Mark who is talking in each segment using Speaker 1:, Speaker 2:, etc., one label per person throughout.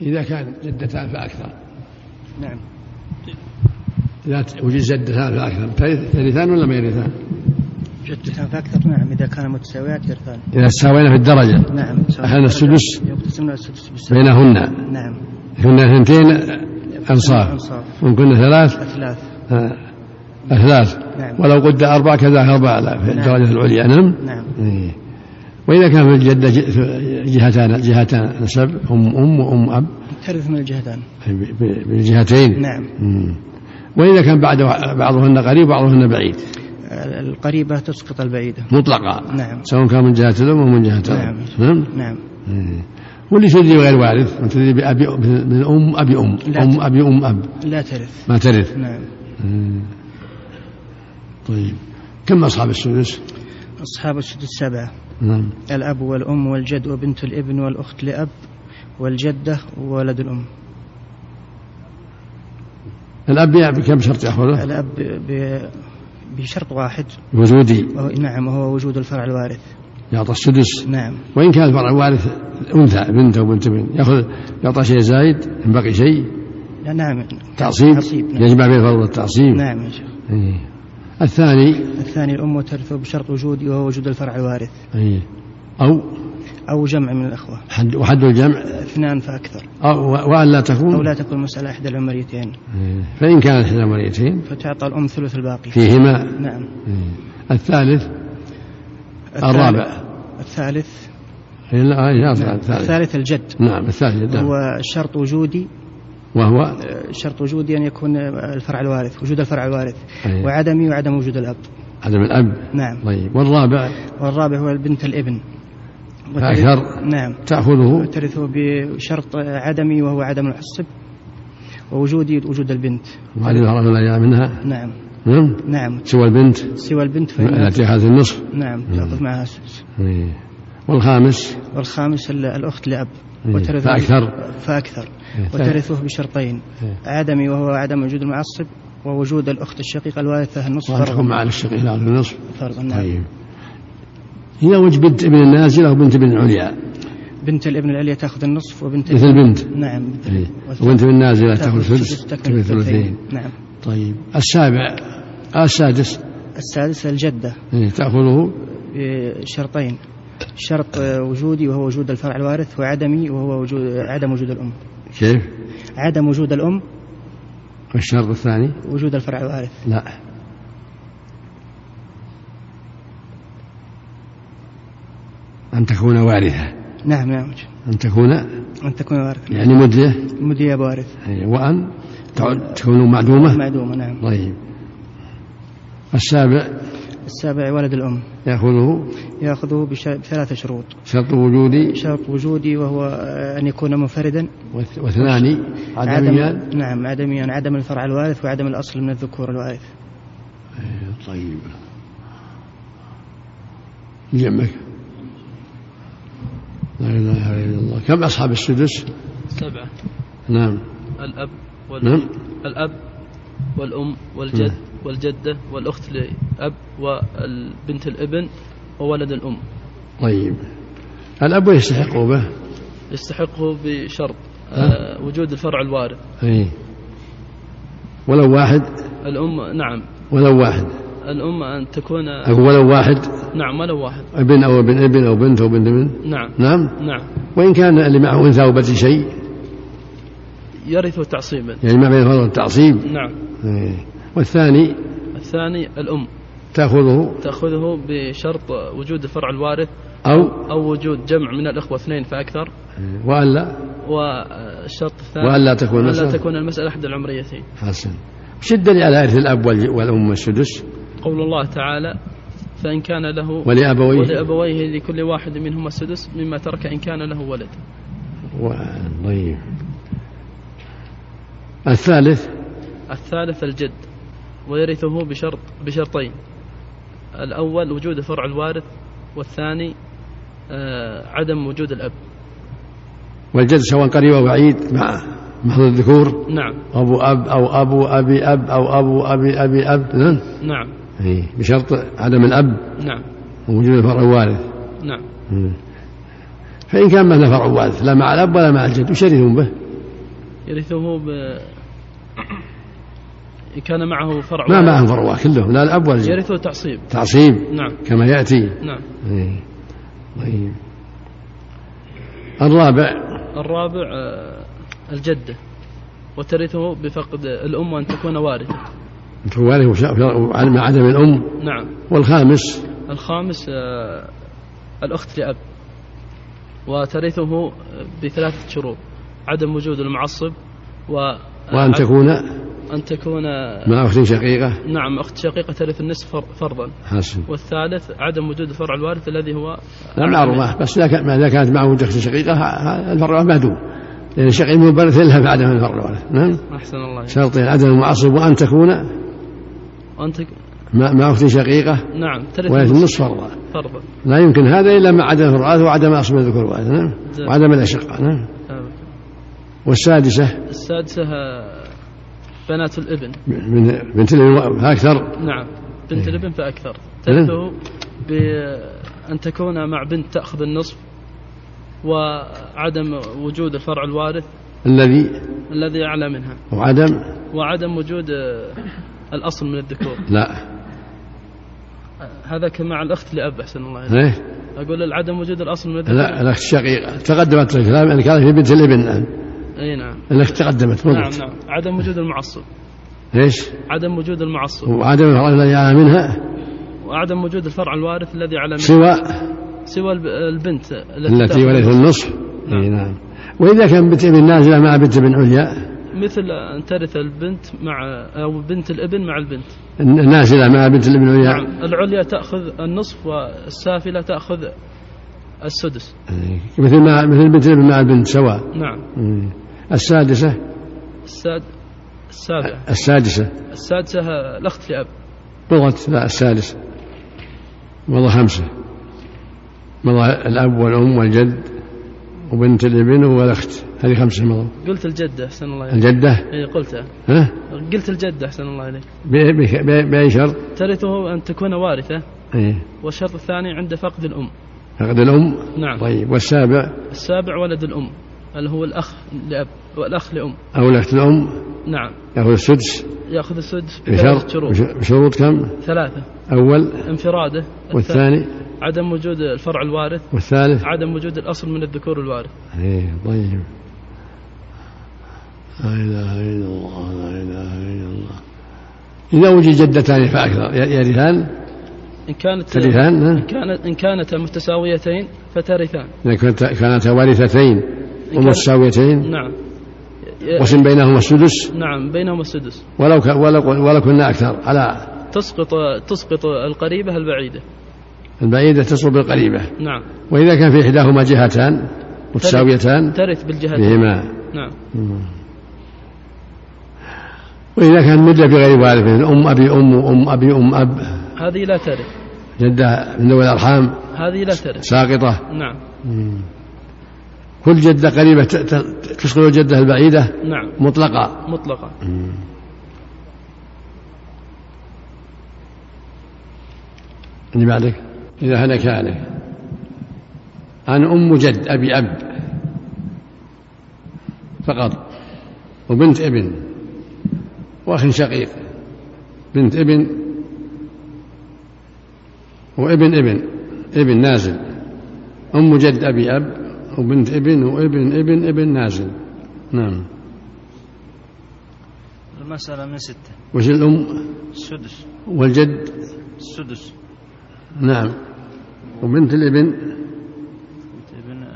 Speaker 1: إذا كان زدتان فأكثر
Speaker 2: نعم
Speaker 1: إذا وجد زدتان فأكثر ترث- ترثان ولا ما يرثان؟
Speaker 2: جدتان فأكثر نعم إذا كان متساويات يرثان
Speaker 1: إذا ساوينا في الدرجة
Speaker 2: نعم
Speaker 1: أهل السدس
Speaker 2: يقتسمنا السدس بالسبع
Speaker 1: بينهن
Speaker 2: نعم
Speaker 1: كنا اثنتين أنصاف
Speaker 2: أنصاف
Speaker 1: وإن كنا ثلاث
Speaker 2: أثلاث
Speaker 1: آه، أثلاث
Speaker 2: نعم
Speaker 1: ولو قد أربعة كذا أربعة لا في
Speaker 2: نعم.
Speaker 1: الدرجة العليا نعم
Speaker 2: نعم
Speaker 1: إيه. وإذا كان في الجدة ج- في جهتان جهتان نسب أم أم وأم أب
Speaker 2: ترث من الجهتان
Speaker 1: ب- ب- بالجهتين
Speaker 2: نعم
Speaker 1: مم. وإذا كان بعد بعضهن قريب وبعضهن بعيد
Speaker 2: القريبة تسقط البعيدة
Speaker 1: مطلقا
Speaker 2: نعم
Speaker 1: سواء كان من جهة الأم أو من جهة الأب
Speaker 2: نعم.
Speaker 1: نعم
Speaker 2: نعم
Speaker 1: إيه. واللي تدري غير وارث ما تدري بأبي من أم أبي أم
Speaker 2: لا.
Speaker 1: أم أبي أم أب
Speaker 2: لا ترث
Speaker 1: ما ترث
Speaker 2: نعم
Speaker 1: مم. طيب كم أصحاب السدس؟
Speaker 2: أصحاب السدس سبعة
Speaker 1: نعم
Speaker 2: الأب والأم والجد وبنت الابن والأخت لأب والجدة وولد الأم
Speaker 1: الأب يع- بكم شرط يأخذه؟
Speaker 2: الأب ب... ب- بشرط واحد
Speaker 1: وجودي
Speaker 2: وهو نعم وهو وجود الفرع الوارث
Speaker 1: يعطى السدس
Speaker 2: نعم
Speaker 1: وإن كان الفرع الوارث أنثى بنت أو بنت بنت يأخذ يعطى شيء زايد إن بقي شيء
Speaker 2: لا نعم
Speaker 1: تعصيب
Speaker 2: تعصيب، نعم.
Speaker 1: يجمع بين الفرع والتعصيب
Speaker 2: نعم يا شيخ
Speaker 1: إيه. الثاني
Speaker 2: الثاني الأم وترثه بشرط وجودي وهو وجود الفرع الوارث
Speaker 1: إيه. أو
Speaker 2: أو جمع من الأخوة
Speaker 1: حد وحد الجمع
Speaker 2: اثنان فأكثر
Speaker 1: أو وأن لا
Speaker 2: أو
Speaker 1: تكون
Speaker 2: لا تكون مسألة إحدى العمريتين
Speaker 1: إيه. فإن كانت إحدى المريتين
Speaker 2: فتعطى الأم ثلث الباقي
Speaker 1: فيهما
Speaker 2: نعم
Speaker 1: إيه. الثالث الرابع
Speaker 2: الثالث
Speaker 1: إيه، لا إيه،
Speaker 2: نعم.
Speaker 1: الثالث الثالث.
Speaker 2: الثالث الجد
Speaker 1: نعم الثالث نعم.
Speaker 2: هو شرط وجودي
Speaker 1: وهو
Speaker 2: آه، شرط وجودي أن يكون آه، الفرع الوارث وجود الفرع الوارث
Speaker 1: إيه.
Speaker 2: وعدمي وعدم وجود الأب
Speaker 1: عدم الأب
Speaker 2: نعم
Speaker 1: طيب والرابع
Speaker 2: والرابع هو بنت الابن وترث-
Speaker 1: فأكثر.
Speaker 2: نعم
Speaker 1: تأخذه
Speaker 2: وترثه بشرط عدمي وهو عدم الحصب ووجودي وجود البنت
Speaker 1: وهل يهرب الأجر منها
Speaker 2: نعم
Speaker 1: نعم
Speaker 2: نعم
Speaker 1: سوى البنت
Speaker 2: سوى البنت فإنها
Speaker 1: التي أخذت النصف
Speaker 2: نعم تأخذ معها سدس
Speaker 1: إيه. والخامس
Speaker 2: والخامس ال- الأخت لأب
Speaker 1: إيه.
Speaker 2: وترثه
Speaker 1: فأكثر.
Speaker 2: فأكثر
Speaker 1: إيه.
Speaker 2: وترثه بشرطين
Speaker 1: إيه.
Speaker 2: عدمي وهو عدم وجود المعصب ووجود الأخت الشقيقة الوارثة لها النصف
Speaker 1: وأن تكون
Speaker 2: فرضا
Speaker 1: مع الشقيق الأخذ النصف
Speaker 2: فرضا نعم
Speaker 1: طيب إذا وجد بنت ابن النازلة وبنت ابن عليا
Speaker 2: بنت الابن العليا تأخذ النصف وبنت
Speaker 1: مثل بنت
Speaker 2: نعم
Speaker 1: إيه. وبنت ابن النازلة تأخذ
Speaker 2: السدس،
Speaker 1: ثلث
Speaker 2: تكمل
Speaker 1: تكمل ثلثين
Speaker 2: الثلثين نعم
Speaker 1: طيب السابع آه، السادس
Speaker 2: السادسة الجدة
Speaker 1: إيه، تأخذه
Speaker 2: بشرطين شرط آه، وجودي وهو وجود الفرع الوارث وعدمي وهو وجود عدم وجود الأم
Speaker 1: كيف؟
Speaker 2: عدم وجود الأم
Speaker 1: والشرط الثاني
Speaker 2: وجود الفرع الوارث
Speaker 1: لا أن تكون وارثة
Speaker 2: نعم نعم
Speaker 1: أن تكون
Speaker 2: أن تكون وارثا
Speaker 1: يعني مدلة
Speaker 2: مدية وارث
Speaker 1: إيه، وأن تعد- تكون معدومة
Speaker 2: معدومة نعم
Speaker 1: طيب السابع
Speaker 2: السابع ولد الأم
Speaker 1: يأخذه
Speaker 2: يأخذه بش- بثلاثة شروط
Speaker 1: شرط وجودي
Speaker 2: شرط وجودي وهو آه، أن يكون منفردا
Speaker 1: وث- واثنان عدميان
Speaker 2: عدم نعم عدميا عدم الفرع الوارث وعدم الأصل من الذكور الوارث
Speaker 1: إيه، طيب جمعك لا إله إلا الله كم أصحاب السدس
Speaker 3: سبعة
Speaker 1: نعم
Speaker 3: الأب
Speaker 1: نعم. نعم.
Speaker 3: والأم الأب والأم والجد والجدة والأخت لأب والبنت الابن وولد الأم
Speaker 1: طيب الأب يستحق به
Speaker 3: يستحقه بشرط
Speaker 1: ها؟
Speaker 3: آه، وجود الفرع الوارث
Speaker 1: أي إيه. ولو واحد
Speaker 3: الأم نعم
Speaker 1: ولو واحد
Speaker 3: الأم أن تكون
Speaker 1: أقول ولو واحد
Speaker 3: نعم ولو واحد
Speaker 1: ابن أو ابن ابن أو بنت أو بنت ابن
Speaker 3: نعم
Speaker 1: نعم
Speaker 3: نعم
Speaker 1: وإن كان اللي معه أنثى أو بنت شيء
Speaker 3: يرثه تعصيبا
Speaker 1: يعني ما بين الفرض والتعصيب
Speaker 3: نعم
Speaker 1: إيه. والثاني
Speaker 3: الثاني الأم
Speaker 1: تأخذه
Speaker 3: تأخذه بشرط وجود الفرع الوارث
Speaker 1: أو إيه.
Speaker 3: أو وجود جمع من الإخوة اثنين فأكثر
Speaker 1: وألا
Speaker 3: والشرط الثاني
Speaker 1: وألا تكون
Speaker 3: وألا
Speaker 1: مثلا
Speaker 3: تكون المسألة إحدى العمريتين
Speaker 1: حسن وش الدليل على إرث الأب وال- والأم السدس
Speaker 3: قول الله تعالى فإن كان له
Speaker 1: ولأبويه
Speaker 3: ولأبويه لكل واحد منهما السدس مما ترك إن كان له ولد
Speaker 1: و... طيب الثالث
Speaker 3: الثالث الجد ويرثه بشرط بشرطين الأول وجود فرع الوارث والثاني آه، عدم وجود الأب
Speaker 1: والجد سواء قريب أو بعيد مع محض الذكور
Speaker 3: نعم
Speaker 1: أبو أب أو أبو أبي أب أو أبو أبي أبي أب نعم
Speaker 3: نعم
Speaker 1: إيه، بشرط عدم الأب
Speaker 3: نعم
Speaker 1: ووجود الفرع الوارث إيه.
Speaker 3: نعم
Speaker 1: مم. فإن كان مثلا فرع وارث لا مع الأب ولا مع الجد وش يرثون به؟
Speaker 3: يرثه ب إن كان معه فرع
Speaker 1: ما
Speaker 3: واحد.
Speaker 1: معهم فروة كلهم لا الأب ولا الجد
Speaker 3: يرثه تعصيب
Speaker 1: تعصيب
Speaker 3: نعم
Speaker 1: كما يأتي
Speaker 3: نعم
Speaker 1: إيه. طيب الرابع
Speaker 3: الرابع آه، الجدة وترثه بفقد الأم أن تكون وارثة
Speaker 1: فواله وشا- مع عدم الأم
Speaker 3: نعم
Speaker 1: والخامس
Speaker 3: الخامس آه، الأخت لأب وترثه بثلاثة شروط عدم وجود المعصب و آه،
Speaker 1: وأن تكون
Speaker 3: أن تكون آه،
Speaker 1: مع أخت شقيقة
Speaker 3: نعم أخت شقيقة ترث النصف فر- فرضا
Speaker 1: حسن
Speaker 3: والثالث عدم وجود فرع الوارث الذي هو
Speaker 1: نعم العروة بس إذا كان- إذا كانت معه أخت شقيقة ه- ه- الفرع مهدوم لأن الشقيق مبرث لها بعدم الفرع والد. نعم
Speaker 3: أحسن الله يعني.
Speaker 1: شرط عدم المعصب وأن تكون
Speaker 3: أنت
Speaker 1: مع مع أخت شقيقة
Speaker 3: نعم ترث
Speaker 1: ولاية النصف فرضا
Speaker 3: فرضا
Speaker 1: لا يمكن هذا إلا مع عدم الرعاة وعدم أصل الذكور والأنثى نعم
Speaker 3: جزاك.
Speaker 1: وعدم الأشقاء نعم
Speaker 3: آه.
Speaker 1: والسادسة
Speaker 3: السادسة آه، بنات الابن
Speaker 1: من بنت الابن أكثر
Speaker 3: نعم بنت
Speaker 1: إيه.
Speaker 3: الابن فأكثر ترثه بأن تكون مع بنت تأخذ النصف وعدم وجود الفرع الوارث
Speaker 1: الذي
Speaker 3: الذي أعلى منها
Speaker 1: وعدم
Speaker 3: وعدم وجود آه، الأصل من الذكور
Speaker 1: لا
Speaker 3: آه، هذا كمع الأخت لأب أحسن الله يعني.
Speaker 1: إيه؟
Speaker 3: أقول عدم وجود الأصل من الذكور
Speaker 1: لا الأخت الشقيقة تقدمت الكلام أن كانت في بنت الابن نعم
Speaker 3: أي نعم
Speaker 1: الأخت تقدمت
Speaker 3: نعم
Speaker 1: مضت
Speaker 3: نعم عدم وجود المعصب
Speaker 1: ليش؟
Speaker 3: عدم وجود المعصب
Speaker 1: وعدم الرعاة الذي أعلى منها
Speaker 3: وعدم وجود الفرع الوارث الذي على منه
Speaker 1: سوى
Speaker 3: سوى الب- البنت
Speaker 1: التي
Speaker 3: تأخذ
Speaker 1: ولدت النصف إيه نعم وإذا كان بنت ابن نازلة مع بنت ابن عليا
Speaker 3: مثل أن ترث البنت مع أو بنت الابن مع البنت
Speaker 1: نازلة مع بنت الابن عليا
Speaker 3: نعم العليا تأخذ النصف والسافلة تأخذ السدس
Speaker 1: إيه، مثل ما مثل بنت الابن مع البنت سواء
Speaker 3: نعم
Speaker 1: مم. السادسة
Speaker 3: الساد السابعة
Speaker 1: السادسة
Speaker 3: السادسة الأخت لأب
Speaker 1: مضت لا السادسة مضى خمسة مضى الأب والأم والجد وبنت الابن والأخت هذه خمسة مضوا
Speaker 3: قلت الجدة أحسن الله عليك
Speaker 1: الجدة
Speaker 3: إيه قلتها
Speaker 1: ها
Speaker 3: قلت الجدة أحسن الله عليك
Speaker 1: ب- ب- ب- بأي شرط؟
Speaker 3: ترثه أن تكون وارثة
Speaker 1: إيه
Speaker 3: والشرط الثاني عند فقد الأم
Speaker 1: عقد الأم
Speaker 3: نعم
Speaker 1: طيب والسابع
Speaker 3: السابع ولد الأم اللي هو الأخ لأب والأخ لأم
Speaker 1: أو الأخت الأم
Speaker 3: نعم
Speaker 1: يأخذ السدس
Speaker 3: يأخذ السدس بثلاث
Speaker 1: بشرط
Speaker 3: شروط
Speaker 1: بشروط كم؟
Speaker 3: ثلاثة
Speaker 1: أول
Speaker 3: انفراده
Speaker 1: والثاني
Speaker 3: عدم وجود الفرع الوارث
Speaker 1: والثالث
Speaker 3: عدم وجود الأصل من الذكور الوارث
Speaker 1: ايه طيب لا اله الا الله لا اله الا الله اذا وجد جدتان فاكثر ي- يرثان
Speaker 3: إن كانت
Speaker 1: ترثان ها؟
Speaker 3: كانت إن كانتا متساويتين فترثان
Speaker 1: اذا كنت- كانتا وارثتين ومتساويتين
Speaker 3: نعم ي-
Speaker 1: وسم بينهما السدس
Speaker 3: نعم بينهما السدس
Speaker 1: ولو ك... ولو ولو كنا اكثر على
Speaker 3: تسقط تسقط القريبة البعيدة
Speaker 1: البعيده تصل بالقريبه
Speaker 3: نعم
Speaker 1: واذا كان في احداهما جهتان متساويتان
Speaker 3: ترث بالجهتين
Speaker 1: بهما
Speaker 3: نعم
Speaker 1: واذا كان مده بغير وارث مثل ام ابي ام ام ابي ام اب
Speaker 3: هذه لا ترث
Speaker 1: جده من ذوي الارحام
Speaker 3: هذه لا ترث
Speaker 1: ساقطه
Speaker 3: نعم
Speaker 1: كل جدة قريبة ت- ت- تشغل الجدة البعيدة
Speaker 3: نعم
Speaker 1: مطلقة
Speaker 3: مطلقة
Speaker 1: اللي بعدك إذا هلك عليك عن أم جد أبي أب فقط وبنت ابن وأخ شقيق بنت ابن وابن ابن ابن نازل أم جد أبي أب وبنت ابن وابن ابن ابن نازل نعم
Speaker 2: المسألة من ستة
Speaker 1: وش الأم
Speaker 2: السدس
Speaker 1: والجد
Speaker 2: السدس
Speaker 1: نعم وبنت الابن
Speaker 2: ابن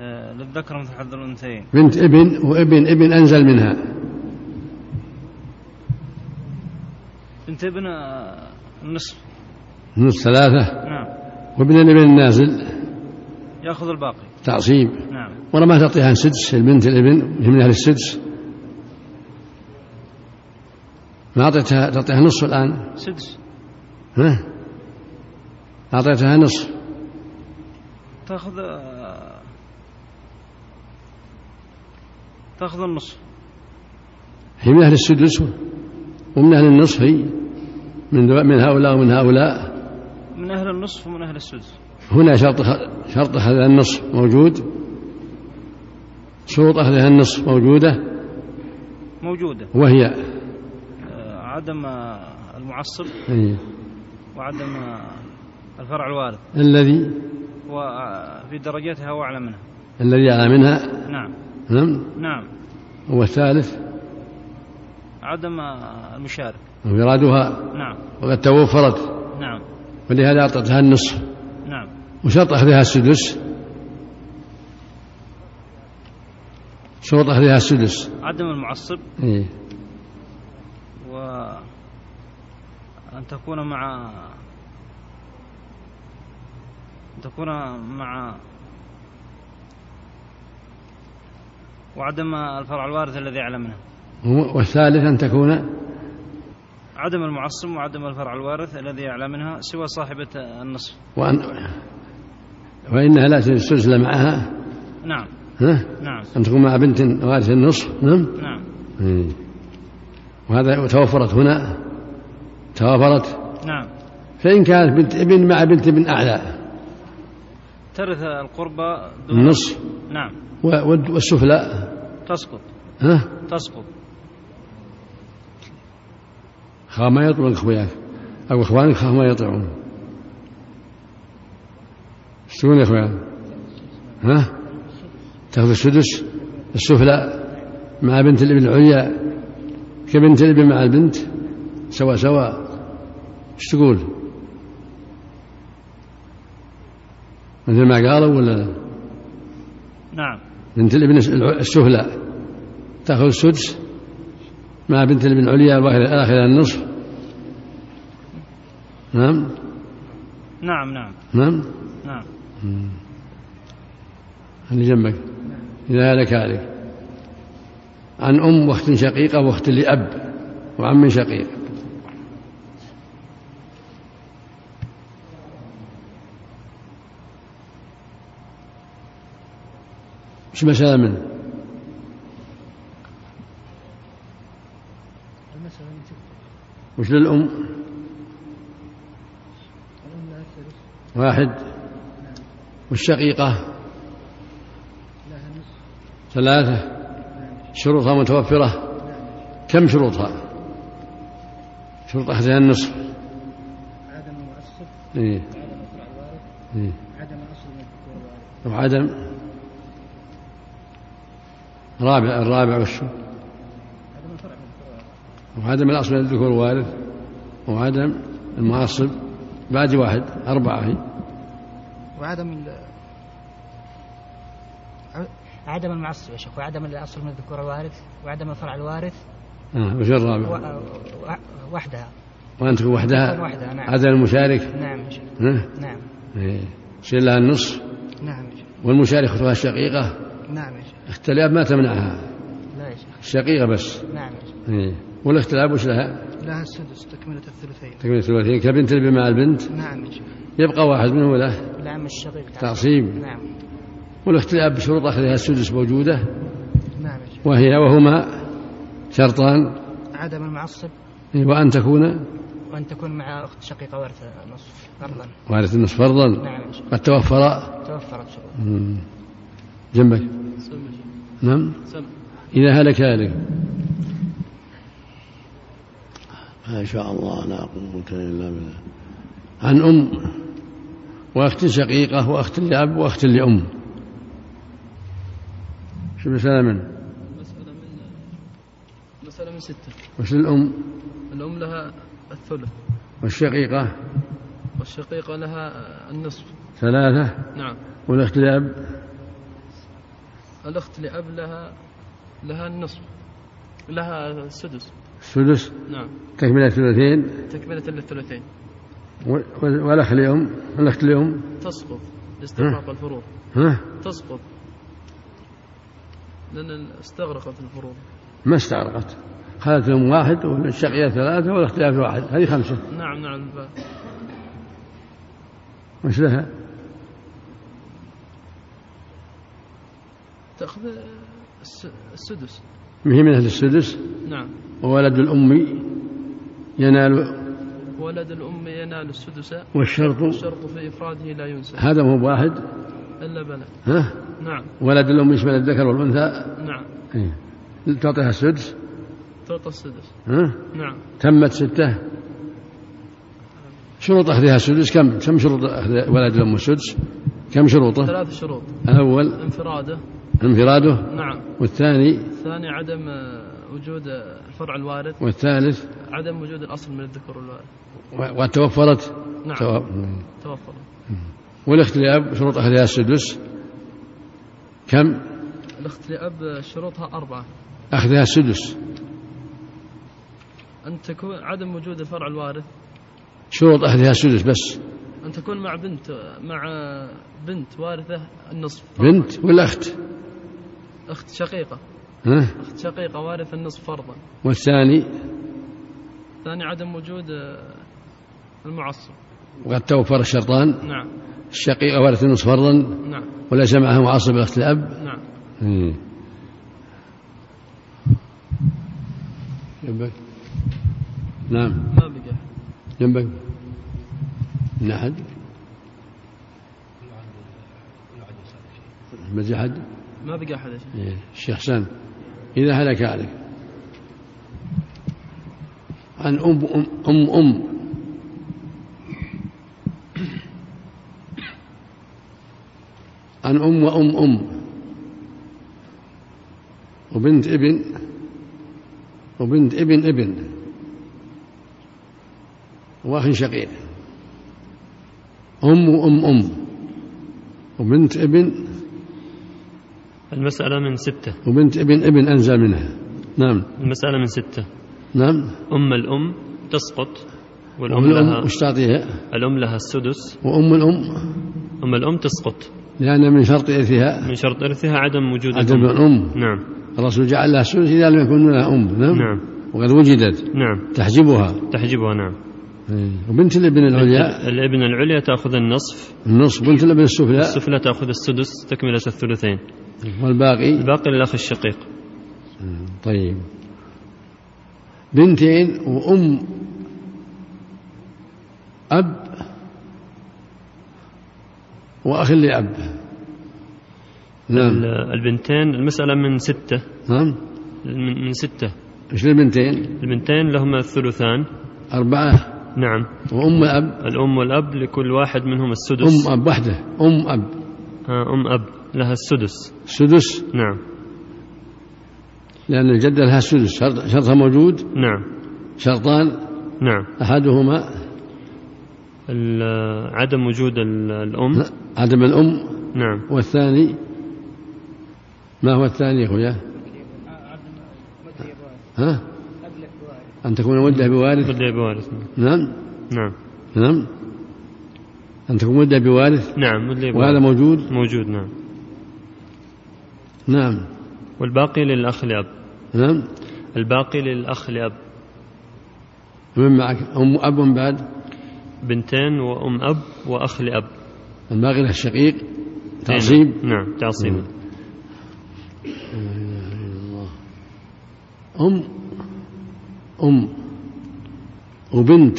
Speaker 2: آه، للذكر آه، مثل حظ الأنثيين
Speaker 1: بنت ابن وابن ابن أنزل منها
Speaker 2: بنت ابن آه، النصف
Speaker 1: نص ثلاثة
Speaker 2: نعم
Speaker 1: وابن الابن النازل
Speaker 2: يأخذ الباقي
Speaker 1: تعصيب
Speaker 2: نعم
Speaker 1: ولا ما تعطيها عن سدس البنت الابن هي من أهل السدس ما أعطيتها تعطيها نصف الآن
Speaker 2: سدس
Speaker 1: ها أعطيتها نصف
Speaker 2: تاخذ آه، تاخذ النصف
Speaker 1: هي من أهل السدس ومن أهل النصف هي من من هؤلاء ومن هؤلاء
Speaker 2: من اهل النصف ومن اهل السدس
Speaker 1: هنا شرط شرط هذا النصف موجود شروط أهلها النصف موجودة
Speaker 4: موجودة
Speaker 1: وهي
Speaker 4: آه، عدم آه، المعصب
Speaker 1: أي.
Speaker 4: وعدم آه، الفرع الوارث
Speaker 1: الذي
Speaker 4: وفي درجتها وأعلى منها
Speaker 1: الذي على منها
Speaker 4: نعم
Speaker 1: نعم
Speaker 4: نعم
Speaker 1: والثالث
Speaker 4: عدم آه، المشارك
Speaker 1: انفرادها
Speaker 4: نعم
Speaker 1: وقد توفرت
Speaker 4: نعم
Speaker 1: ولهذا أعطتها النصف
Speaker 4: نعم
Speaker 1: وشرط أخذها السدس شروط أخذها السدس
Speaker 4: عدم المعصب
Speaker 1: إيه.
Speaker 4: و أن تكون مع أن تكون مع وعدم الفرع الوارث الذي أعلى منه
Speaker 1: والثالث أن تكون
Speaker 4: عدم المعصم وعدم الفرع الوارث الذي أعلى منها سوى صاحبة النصف
Speaker 1: وأن وإنها لا تستسلم معها
Speaker 4: نعم
Speaker 1: ها؟
Speaker 4: نعم
Speaker 1: أن تكون مع بنت وارث النصف نعم
Speaker 4: نعم
Speaker 1: إيه. وهذا توفرت هنا توافرت
Speaker 4: نعم
Speaker 1: فإن كانت بنت ابن مع بنت ابن أعلى
Speaker 4: ترث القربى دون
Speaker 1: النصف
Speaker 4: نعم
Speaker 1: و- والد- والسفلى
Speaker 4: تسقط
Speaker 1: ها
Speaker 4: تسقط
Speaker 1: خاف ما يطعمك أخوياك أو إخوانك خاف ما يطعمون ايش تقول يا أخويا ها تأخذ السدس السفلى مع بنت الابن العليا كبنت الابن مع البنت سوا سوا ايش تقول مثل ما قالوا ولا لا؟
Speaker 4: نعم
Speaker 1: بنت الابن السهلى تأخذ السدس مع بنت الابن عليا الآخرة النصف نعم
Speaker 4: نعم نعم
Speaker 1: نعم
Speaker 4: نعم
Speaker 1: اللي جنبك إذا هلك عليك عن أم وأخت شقيقة وأخت لأب وعم شقيق ايش مسألة منه؟
Speaker 3: المسألة
Speaker 1: وش للأم؟ واحد والشقيقة ثلاثة شروطها متوفرة كم شروطها؟ شروط أخذها النصف
Speaker 2: عدم المعصب
Speaker 1: إيه.
Speaker 2: عدم الفرع الوارث
Speaker 1: إيه.
Speaker 2: عدم اصل الذكور الوارث
Speaker 1: وعدم رابع الرابع وش
Speaker 2: عدم الفرع من الذكور الوارث
Speaker 1: وعدم الأصل للذكور وارث وعدم المعصب بعد واحد أربعة هي
Speaker 2: وعدم ال
Speaker 5: عدم المعصب يا شيخ وعدم الاصل من الذكور الوارث وعدم الفرع الوارث
Speaker 1: آه، وش الرابع؟
Speaker 5: و... و- وحدها
Speaker 1: وأن تكون وحدها
Speaker 5: تكون وحدها، نعم.
Speaker 1: عدم المشارك
Speaker 5: نعم يا شيخ
Speaker 1: ها؟
Speaker 5: نعم
Speaker 1: إيه. يصير لها النصف
Speaker 5: نعم يا شيخ
Speaker 1: والمشارك أختها الشقيقة
Speaker 5: نعم يا شيخ
Speaker 1: اختلاف ما تمنعها
Speaker 5: لا يا شيخ
Speaker 1: الشقيقة بس
Speaker 5: نعم يا شيخ
Speaker 1: إيه. والاختلاف وش لها؟
Speaker 2: لها السدس تكمله الثلثين
Speaker 1: تكملة الثلاثين كبنت الأب مع البنت
Speaker 2: نعم يا شيخ
Speaker 1: يبقى واحد منهم له
Speaker 5: العم الشقيق
Speaker 1: تعصيب
Speaker 5: نعم
Speaker 1: والاختلاف بشروط أخذها السدس موجودة
Speaker 2: نعم يا شيخ
Speaker 1: وهي وهما شرطان
Speaker 5: عدم المعصب
Speaker 1: إيه، وأن تكون
Speaker 5: وان تكون مع اخت شقيقه وارثه نصف فرضا
Speaker 1: وارث النصف فرضا
Speaker 5: نعم يا شيخ
Speaker 1: قد توفر
Speaker 5: توفرت شروط
Speaker 1: مم. جنبك
Speaker 3: سم
Speaker 1: نعم
Speaker 3: سم
Speaker 1: إذا هلك هلك
Speaker 6: ما شاء الله لا قوة إلا بالله
Speaker 1: عن أم وأخت شقيقة وأخت لأب وأخت لأم شو مسألة من
Speaker 3: مسألة من مسألة من ستة
Speaker 1: وش للأم
Speaker 3: الأم لها الثلث
Speaker 1: والشقيقة
Speaker 3: والشقيقة لها النصف
Speaker 1: ثلاثة
Speaker 3: نعم
Speaker 1: والأخت لأب
Speaker 3: الأخت لأب لها لها النصف لها السدس
Speaker 1: السدس
Speaker 3: نعم
Speaker 1: تكملة ثلثين
Speaker 3: تكملة للثلثين
Speaker 1: و- و- والأخ لأم والأخت لأم
Speaker 3: تسقط لاستغراق الفروض
Speaker 1: ها
Speaker 3: تسقط لأن استغرقت الفروض
Speaker 1: ما استغرقت خالت الأم واحد والشقية ثلاثة والأخت لأب واحد هذه خمسة
Speaker 3: نعم نعم ف-
Speaker 1: وش لها؟
Speaker 3: تأخذ الس- السدس
Speaker 1: هي من أهل السدس
Speaker 3: نعم
Speaker 1: وولد الأم ينال
Speaker 3: ولد الأم ينال السدس
Speaker 1: والشرط
Speaker 3: والشرط في إفراده لا ينسى
Speaker 1: هذا هو واحد
Speaker 3: إلا بنت
Speaker 1: ها
Speaker 3: نعم
Speaker 1: ولد الأم يشمل الذكر والأنثى
Speaker 3: نعم
Speaker 1: إيه. تعطيها السدس
Speaker 3: تعطى السدس
Speaker 1: ها
Speaker 3: نعم
Speaker 1: تمت ستة شروط أخذها السدس كم كم شروط أخذ ولد الأم السدس كم شروطه
Speaker 3: ثلاث شروط
Speaker 1: الأول
Speaker 3: انفراده
Speaker 1: انفراده
Speaker 3: نعم
Speaker 1: والثاني
Speaker 3: الثاني عدم آه، وجود آه، الفرع الوارث
Speaker 1: والثالث
Speaker 3: عدم وجود الأصل من الذكر والوارث
Speaker 1: و- وقد توفرت
Speaker 3: نعم
Speaker 1: تو-
Speaker 3: توفر
Speaker 1: والأخت لأب شروط أخذها السدس كم
Speaker 3: الأخت لأب آه، شروطها أربعة
Speaker 1: أخذها السدس
Speaker 3: أن تكون عدم وجود الفرع الوارث
Speaker 1: شروط أخذها السدس بس
Speaker 3: أن تكون مع بنت آه، مع آه، بنت وارثة النصف
Speaker 1: بنت ولا أخت
Speaker 3: أخت شقيقة
Speaker 1: ها
Speaker 3: أخت شقيقة وارثة النصف فرضا
Speaker 1: والثاني
Speaker 3: ثاني عدم وجود آه، المعصب
Speaker 1: وقد توفر الشرطان
Speaker 3: نعم
Speaker 1: الشقيقة وارث النصف فرضا
Speaker 3: نعم
Speaker 1: وليس معها معصب الأخت الأب
Speaker 3: نعم
Speaker 1: إيه. جنبك نعم
Speaker 3: ما بقى
Speaker 1: جنبك من أحد ما في أحد
Speaker 3: ما بقى أحد يا شيخ
Speaker 1: إيه، الشيخ حسان إذا هلك عليك عن أم أم أم, أم. عن أم وأم أم وبنت ابن وبنت ابن ابن وأخ شقيق أم وأم أم وبنت ابن
Speaker 7: المسألة من ستة
Speaker 1: وبنت ابن ابن أنزل منها نعم
Speaker 7: المسألة من ستة
Speaker 1: نعم
Speaker 7: أم الأم تسقط والأم
Speaker 1: وأم
Speaker 7: لها
Speaker 1: الأم وش تعطيها
Speaker 7: الأم لها السدس
Speaker 1: وأم الأم
Speaker 7: أم الأم تسقط
Speaker 1: لأن من شرط إرثها
Speaker 7: من شرط إرثها عدم وجود
Speaker 1: عدم
Speaker 7: الأم
Speaker 1: الأم
Speaker 7: نعم
Speaker 1: الرسول جعل لها السدس إذا لم يكن لها أم نعم
Speaker 7: نعم
Speaker 1: وقد وجدت
Speaker 7: نعم
Speaker 1: تحجبها
Speaker 7: تحجبها نعم
Speaker 1: إيه. وبنت الابن العليا
Speaker 7: الابن العليا تأخذ النصف
Speaker 1: النصف بنت الابن السفلى
Speaker 7: السفلى تأخذ السدس تكملة الثلثين
Speaker 1: والباقي
Speaker 7: الباقي للأخ الشقيق
Speaker 1: نعم. طيب بنتين وأم أب وأخ لأب نعم
Speaker 7: ال- البنتين المسألة من ستة
Speaker 1: نعم
Speaker 7: من من ستة
Speaker 1: ايش البنتين؟
Speaker 7: البنتين لهما الثلثان
Speaker 1: أربعة
Speaker 7: نعم
Speaker 1: وأم أب
Speaker 7: الأم والأب لكل واحد منهم السدس
Speaker 1: أم أب وحدة أم أب
Speaker 7: آه، أم أب لها السدس
Speaker 1: سدس
Speaker 7: نعم
Speaker 1: لأن الجدة لها سدس شرط شرطها موجود
Speaker 7: نعم
Speaker 1: شرطان
Speaker 7: نعم
Speaker 1: أحدهما
Speaker 7: ال- عدم وجود ال- الأم
Speaker 1: عدم الأم
Speaker 7: نعم
Speaker 1: والثاني ما هو الثاني يا أخويا؟ ها؟ أن تكون مدة بوارث
Speaker 7: بدي بوارث
Speaker 1: نعم
Speaker 7: نعم
Speaker 1: نعم أن تكون مدة بوارث
Speaker 7: نعم بدي
Speaker 1: وهذا
Speaker 7: بوارث
Speaker 1: موجود
Speaker 7: موجود نعم
Speaker 1: نعم
Speaker 7: والباقي للأخ لأب
Speaker 1: نعم
Speaker 7: الباقي للأخ لأب
Speaker 1: من معك أم أب بعد
Speaker 7: بنتين وأم أب وأخ لأب
Speaker 1: الباقي له الشقيق تعصيب
Speaker 7: نعم تعصيب
Speaker 1: أم أم وبنت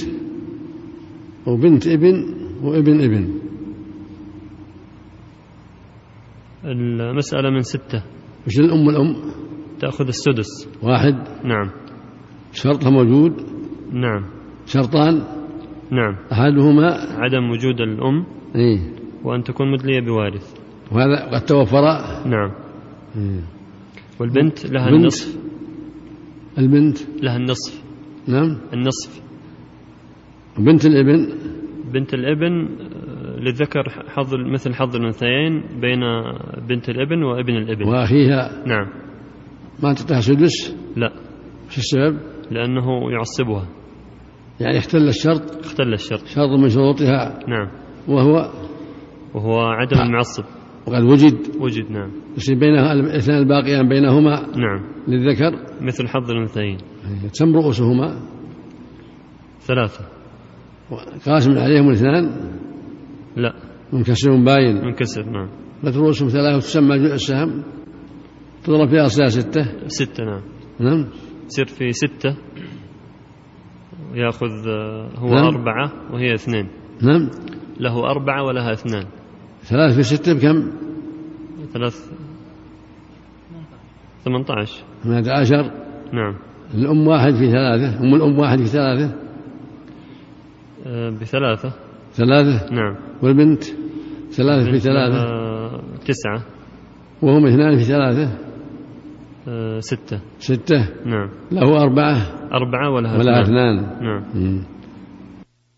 Speaker 1: وبنت ابن وابن ابن
Speaker 7: المسألة من ستة
Speaker 1: وش الأم والأم
Speaker 7: تأخذ السدس
Speaker 1: واحد
Speaker 7: نعم
Speaker 1: شرطها موجود
Speaker 7: نعم
Speaker 1: شرطان
Speaker 7: نعم
Speaker 1: أحدهما
Speaker 7: عدم وجود الأم
Speaker 1: إيه
Speaker 7: وأن تكون مدلية بوارث
Speaker 1: وهذا قد توفر
Speaker 7: نعم
Speaker 1: إيه.
Speaker 7: والبنت لها
Speaker 1: بنت.
Speaker 7: النصف
Speaker 1: البنت
Speaker 7: لها النصف
Speaker 1: نعم
Speaker 7: النصف
Speaker 1: وبنت الابن
Speaker 7: بنت الابن آه، للذكر حظ مثل حظ الأنثيين بين بنت الابن وابن الابن
Speaker 1: وأخيها
Speaker 7: نعم
Speaker 1: ما تعطيها سدس
Speaker 7: لا
Speaker 1: وش السبب؟
Speaker 7: لأنه يعصبها
Speaker 1: يعني اختل الشرط
Speaker 7: اختل الشرط
Speaker 1: شرط من شروطها
Speaker 7: نعم
Speaker 1: وهو
Speaker 7: وهو عدم
Speaker 1: آه.
Speaker 7: المعصب
Speaker 1: وقد وجد
Speaker 7: وجد نعم
Speaker 1: يصير بينها الاثنان الباقيان بينهما
Speaker 7: نعم
Speaker 1: للذكر
Speaker 7: مثل حظ الأنثيين
Speaker 1: تم رؤوسهما
Speaker 7: ثلاثة
Speaker 1: قاسم عليهم الاثنان
Speaker 7: لا
Speaker 1: منكسر باين
Speaker 7: منكسر نعم
Speaker 1: لك رؤوسهم ثلاثة وتسمى جزء السهم تضرب فيها أصلها ستة
Speaker 7: ستة نعم
Speaker 1: نعم
Speaker 7: يصير في ستة يأخذ آه، هو
Speaker 1: نعم.
Speaker 7: أربعة وهي اثنين
Speaker 1: نعم
Speaker 7: له أربعة ولها اثنان
Speaker 1: ثلاثة في ستة بكم؟
Speaker 7: ثلاث 18
Speaker 1: ثمانية عشر
Speaker 7: نعم
Speaker 1: الأم واحد في ثلاثة أم الأم واحد في ثلاثة
Speaker 7: آه، بثلاثة
Speaker 1: ثلاثة
Speaker 7: نعم
Speaker 1: والبنت ثلاثة في ثلاثة
Speaker 7: آه، تسعة
Speaker 1: وهم اثنان في ثلاثة
Speaker 7: آه، ستة
Speaker 1: ستة
Speaker 7: نعم
Speaker 1: له أربعة
Speaker 7: أربعة ولا
Speaker 1: نعم. ولا اثنان
Speaker 7: نعم
Speaker 1: مم.